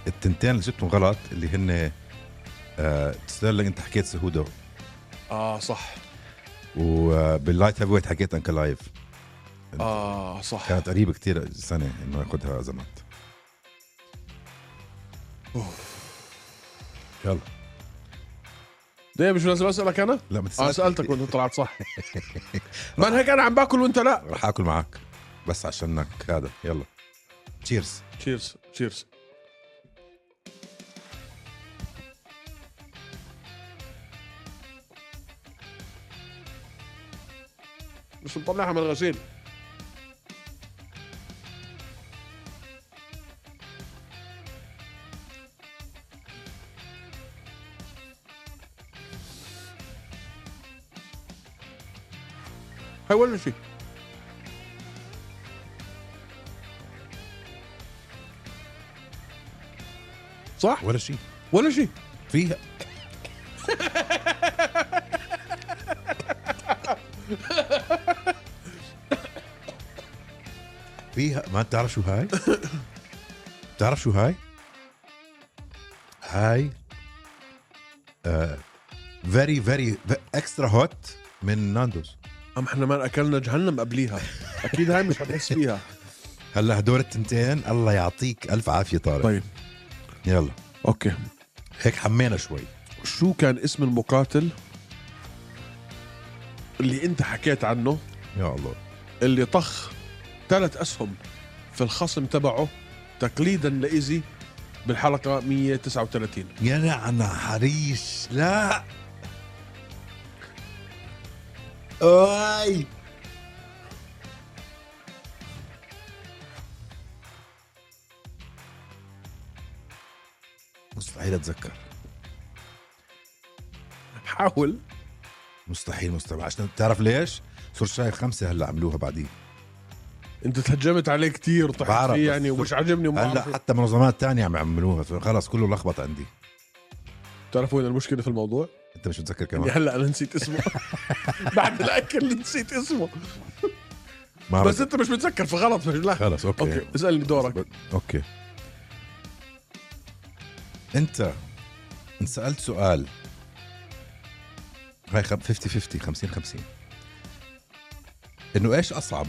Speaker 1: التنتين اللي جبتهم غلط اللي هن آه ستيرلينج انت حكيت سهودو
Speaker 2: اه صح
Speaker 1: وباللايت آه، هيفي ويت حكيت انكل لايف
Speaker 2: اه صح
Speaker 1: كانت قريبه كتير سنه انه ياخذها ازمات يلا
Speaker 2: ليه مش لازم اسالك انا؟
Speaker 1: لا ما
Speaker 2: اه
Speaker 1: تسألش.
Speaker 2: سالتك وانت طلعت صح <laughs> ما انا هيك انا عم باكل وانت لا
Speaker 1: رح اكل معك بس عشانك هذا يلا تشيرز
Speaker 2: تشيرز تشيرز مش مطلعها من الغسيل هاي ولا شيء صح
Speaker 1: ولا شيء
Speaker 2: ولا شيء
Speaker 1: فيها فيها ما بتعرف شو هاي؟ بتعرف شو هاي؟ هاي آه، فيري فيري اكسترا هوت من ناندوز
Speaker 2: ام احنا ما اكلنا جهنم قبليها اكيد هاي مش حتحس فيها
Speaker 1: هلا هدول التنتين الله يعطيك الف عافيه طارق
Speaker 2: <laughs> طيب
Speaker 1: يلا
Speaker 2: اوكي
Speaker 1: هيك حمينا شوي
Speaker 2: شو كان اسم المقاتل اللي انت حكيت عنه
Speaker 1: يا الله
Speaker 2: اللي طخ ثلاث اسهم في الخصم تبعه تقليدا لايزي بالحلقه 139
Speaker 1: يا نعنع حريش لا اي مستحيل اتذكر
Speaker 2: حاول
Speaker 1: مستحيل مستحيل عشان تعرف ليش صرت شايف خمسه هلا عملوها بعدين
Speaker 2: انت تهجمت عليه كثير طحت
Speaker 1: بعرف،
Speaker 2: فيه
Speaker 1: بس
Speaker 2: يعني ومش عاجبني وما
Speaker 1: هلا
Speaker 2: هلا
Speaker 1: حتى منظمات تانية عم يعملوها خلص كله لخبط عندي
Speaker 2: بتعرفوا وين المشكله في الموضوع؟
Speaker 1: انت مش متذكر
Speaker 2: اني
Speaker 1: كمان
Speaker 2: هلا انا
Speaker 1: <laughs>
Speaker 2: نسيت اسمه <laughs> بعد الاكل نسيت اسمه
Speaker 1: ما
Speaker 2: بس
Speaker 1: بعرف.
Speaker 2: انت مش متذكر فغلط مش لا
Speaker 1: خلص اوكي,
Speaker 2: اوكي اسالني دورك
Speaker 1: اوكي انت انسالت سؤال هاي خم- 50 50 50 50 انه ايش اصعب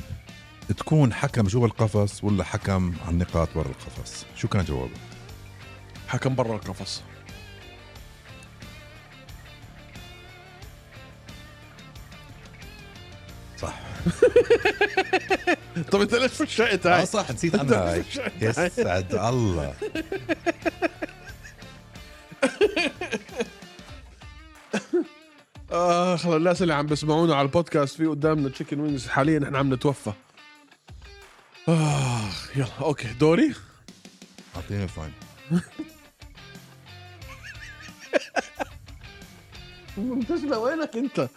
Speaker 1: تكون حكم جوا القفص ولا حكم عن نقاط برا القفص شو كان جوابك
Speaker 2: حكم برا القفص
Speaker 1: صح
Speaker 2: طب انت ليش فشقت
Speaker 1: اه
Speaker 2: هاي؟
Speaker 1: صح نسيت عنها هاي
Speaker 2: مش عارف.
Speaker 1: يسعد الله
Speaker 2: اخ الناس اللي عم بيسمعونا على البودكاست في قدامنا تشيكن وينجز حاليا احنا عم نتوفى اخ يلا اوكي دوري
Speaker 1: اعطيني الفاين
Speaker 2: منتج وينك انت؟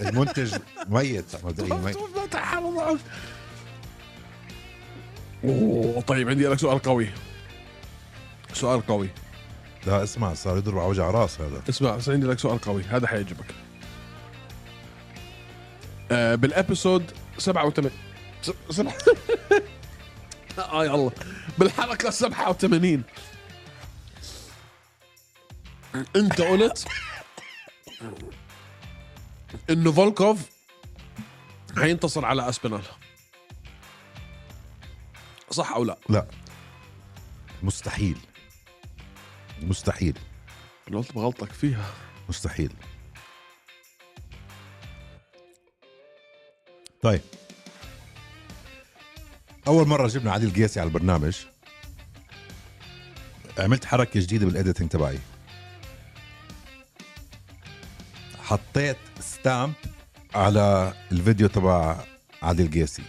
Speaker 1: المنتج ميت مبدئيا
Speaker 2: طيب.
Speaker 1: ميت
Speaker 2: تعال ضعف اوه طيب عندي لك سؤال قوي سؤال قوي
Speaker 1: لا اسمع صار يضرب على وجع راس هذا
Speaker 2: اسمع بس عندي لك سؤال قوي هذا حيعجبك آه بالابيسود 87 سب... سب... <laughs> آه يلا بالحلقة 87 انت قلت انه فولكوف هينتصر على اسبينال صح او لا؟
Speaker 1: لا مستحيل مستحيل
Speaker 2: انا قلت بغلطك فيها
Speaker 1: مستحيل طيب اول مره جبنا عادل قيسي على البرنامج عملت حركه جديده بالاديتنج تبعي حطيت ستامب على الفيديو تبع عادل قيسي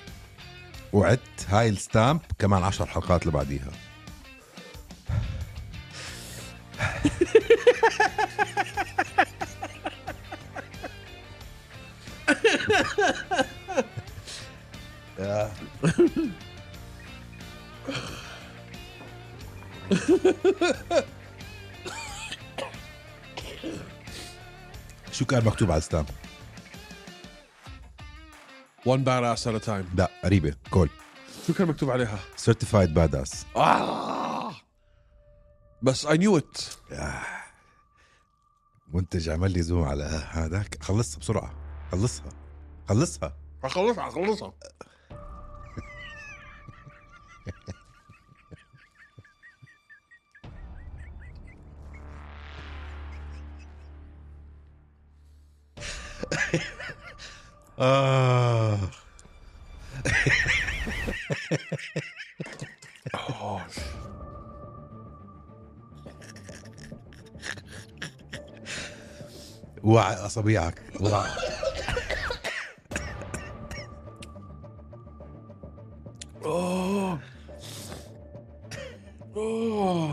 Speaker 1: وعدت هاي الستامب كمان عشر حلقات اللي بعديها شو كان مكتوب على الستامب؟
Speaker 2: وان badass at a time
Speaker 1: لا قريبه كول
Speaker 2: شو كان مكتوب عليها؟
Speaker 1: سيرتيفايد باداس
Speaker 2: آه. بس اي نيو ات
Speaker 1: منتج عمل لي زوم على هذاك خلصها بسرعه خلصها خلصها
Speaker 2: اخلصها اخلصها
Speaker 1: آه. <laughs> وعي اصابيعك وعي
Speaker 2: اوه اوه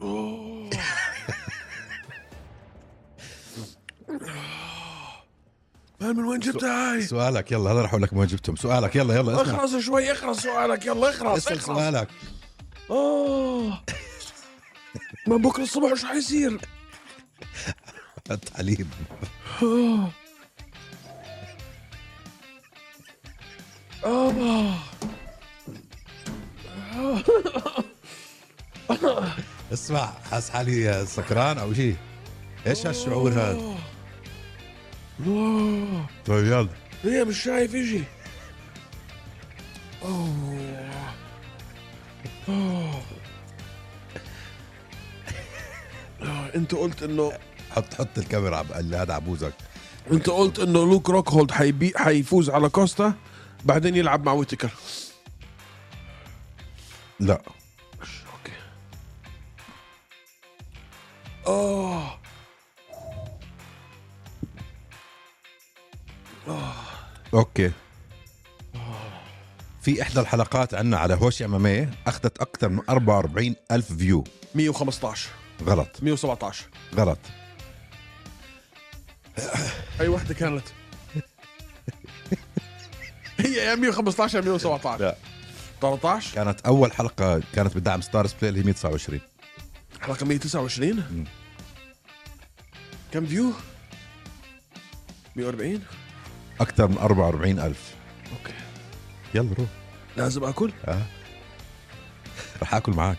Speaker 2: آه. اوه مان من وين جبتها هاي؟
Speaker 1: سؤالك يلا هلا رح اقول لك ما جبتهم سؤالك يلا يلا اسمع
Speaker 2: اخرس شوي اخرس سؤالك يلا اخرس
Speaker 1: اسال
Speaker 2: اخرس
Speaker 1: سؤالك
Speaker 2: اه ما بكره الصبح شو حيصير؟
Speaker 1: التعليم
Speaker 2: آه. آه.
Speaker 1: اسمع حاس حالي سكران او شيء ايش هالشعور هذا
Speaker 2: آه. آه.
Speaker 1: طيب يلا
Speaker 2: ليه مش شايف إشي؟ آه. آه. آه، انت قلت انه
Speaker 1: حط حط الكاميرا على بقى- هذا على بوزك
Speaker 2: انت قلت انه لوك روكهولد حيبي حيفوز على كوستا بعدين يلعب مع ويتكر
Speaker 1: لا
Speaker 2: اوكي اه
Speaker 1: اوكي في احدى الحلقات عنا على هوش ام ام اخذت اكثر من 44 الف فيو
Speaker 2: 115
Speaker 1: غلط
Speaker 2: 117
Speaker 1: غلط
Speaker 2: اي وحده كانت <laughs> هي يا 115 يا 117
Speaker 1: لا.
Speaker 2: 13
Speaker 1: كانت اول حلقه كانت بدعم ستارز بلاي اللي هي 129
Speaker 2: حلقه 129 كم فيو 140
Speaker 1: اكثر من 44 الف
Speaker 2: اوكي
Speaker 1: يلا روح
Speaker 2: لازم اكل
Speaker 1: رح اكل معك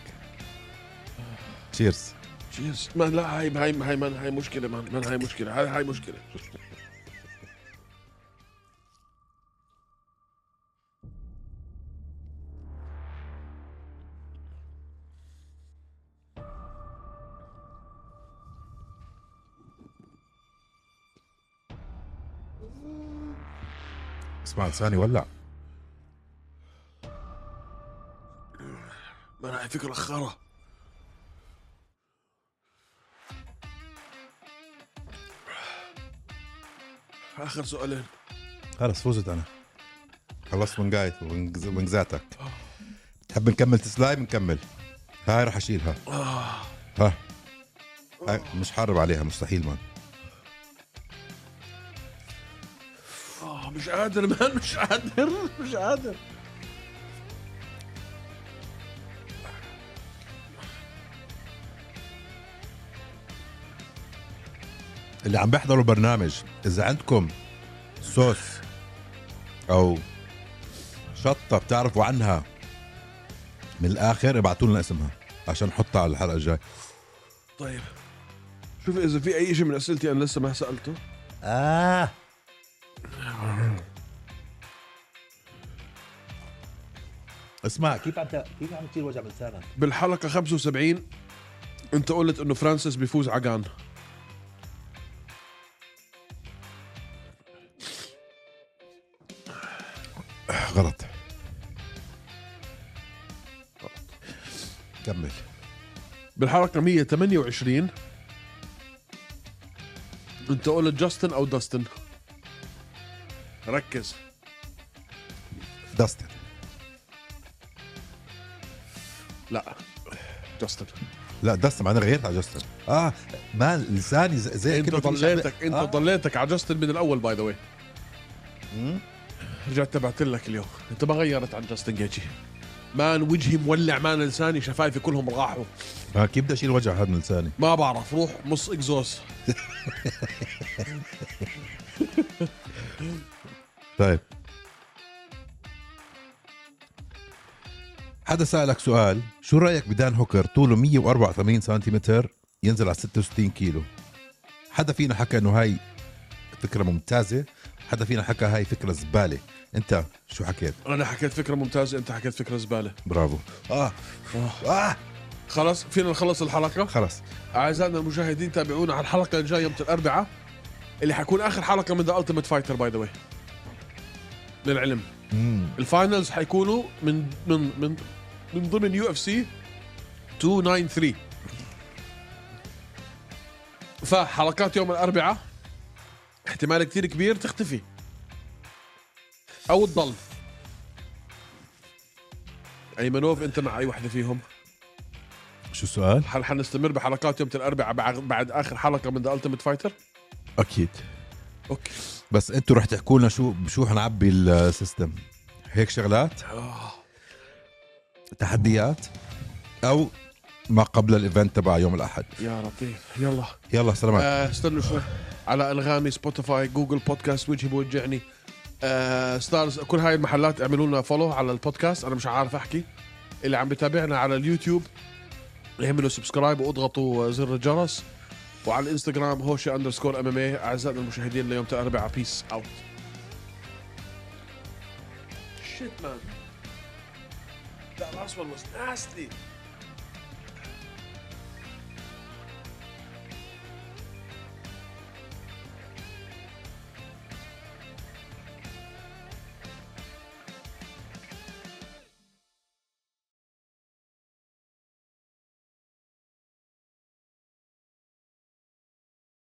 Speaker 1: تشيرز
Speaker 2: جيز ما لا هاي هاي هاي من هاي مشكله من, من هاي مشكله هاي هاي مشكله
Speaker 1: اسمع لساني ولع
Speaker 2: من هاي فكره خرا اخر سؤالين
Speaker 1: خلص فزت انا خلصت من قايد ونقزاتك تحب نكمل تسلايم نكمل هاي رح اشيلها
Speaker 2: آه.
Speaker 1: ها هاي مش حارب عليها مستحيل مان
Speaker 2: آه مش قادر <laughs> مان مش قادر مش قادر
Speaker 1: اللي عم بيحضروا البرنامج اذا عندكم صوص او شطه بتعرفوا عنها من الاخر ابعتوا لنا اسمها عشان نحطها على الحلقه الجاي
Speaker 2: طيب شوف اذا في اي شيء من اسئلتي انا لسه ما سالته
Speaker 1: آه اسمع كيف عم كيف عم تصير وجع بلسانك؟
Speaker 2: بالحلقه 75 انت قلت انه فرانسيس بيفوز عقان
Speaker 1: غلط كمل
Speaker 2: بالحلقه 128 انت قلت جاستن او داستن ركز
Speaker 1: داستن
Speaker 2: لا جاستن
Speaker 1: لا داستن انا غيرت على جاستن اه ما لساني زي- زي
Speaker 2: انت
Speaker 1: كلمة مش
Speaker 2: ضليتك
Speaker 1: عم-
Speaker 2: انت
Speaker 1: آه.
Speaker 2: ضليتك على جاستن من الاول باي ذا واي
Speaker 1: مم.
Speaker 2: رجعت تبعت لك اليوم انت ما غيرت عن جاستن جيتشي مان وجهي مولع مان لساني شفايفي كلهم راحوا
Speaker 1: آه كيف بدي اشيل وجع هذا من لساني؟
Speaker 2: ما بعرف روح مص اكزوس
Speaker 1: طيب حدا سألك سؤال شو رأيك بدان هوكر طوله 184 سنتيمتر ينزل على 66 كيلو حدا فينا حكى انه هاي فكرة ممتازة حدا فينا حكى هاي فكرة زبالة انت شو حكيت
Speaker 2: انا حكيت فكره ممتازه انت حكيت فكره زباله
Speaker 1: برافو اه اه
Speaker 2: خلاص فينا نخلص الحلقه
Speaker 1: خلص
Speaker 2: اعزائنا المشاهدين تابعونا على الحلقه الجايه يوم الاربعاء اللي حيكون اخر حلقه من ذا التيمت فايتر باي ذا واي للعلم
Speaker 1: مم.
Speaker 2: الفاينلز حيكونوا من من من من ضمن يو اف سي 293 فحلقات يوم الاربعاء احتمال كثير كبير تختفي او تضل ايمنوف انت مع اي وحده فيهم
Speaker 1: شو السؤال؟
Speaker 2: هل حنستمر بحلقات يوم الاربعاء بعد, بعد اخر حلقه من ذا التيمت فايتر
Speaker 1: اكيد
Speaker 2: اوكي
Speaker 1: بس انتوا رح تحكوا لنا شو بشو حنعبي السيستم هيك شغلات
Speaker 2: آه.
Speaker 1: تحديات او ما قبل الايفنت تبع يوم الاحد
Speaker 2: يا لطيف يلا
Speaker 1: يلا سلامات
Speaker 2: آه استنوا شوي على انغامي سبوتيفاي جوجل بودكاست وجهي بوجعني آه ستارز كل هاي المحلات اعملوا لنا فولو على البودكاست انا مش عارف احكي اللي عم بتابعنا على اليوتيوب اعملوا سبسكرايب واضغطوا زر الجرس وعلى الانستغرام هوشي اندرسكور ام ام اي اعزائنا المشاهدين ليوم الاربعاء بيس اوت Shit man. That last one was nasty.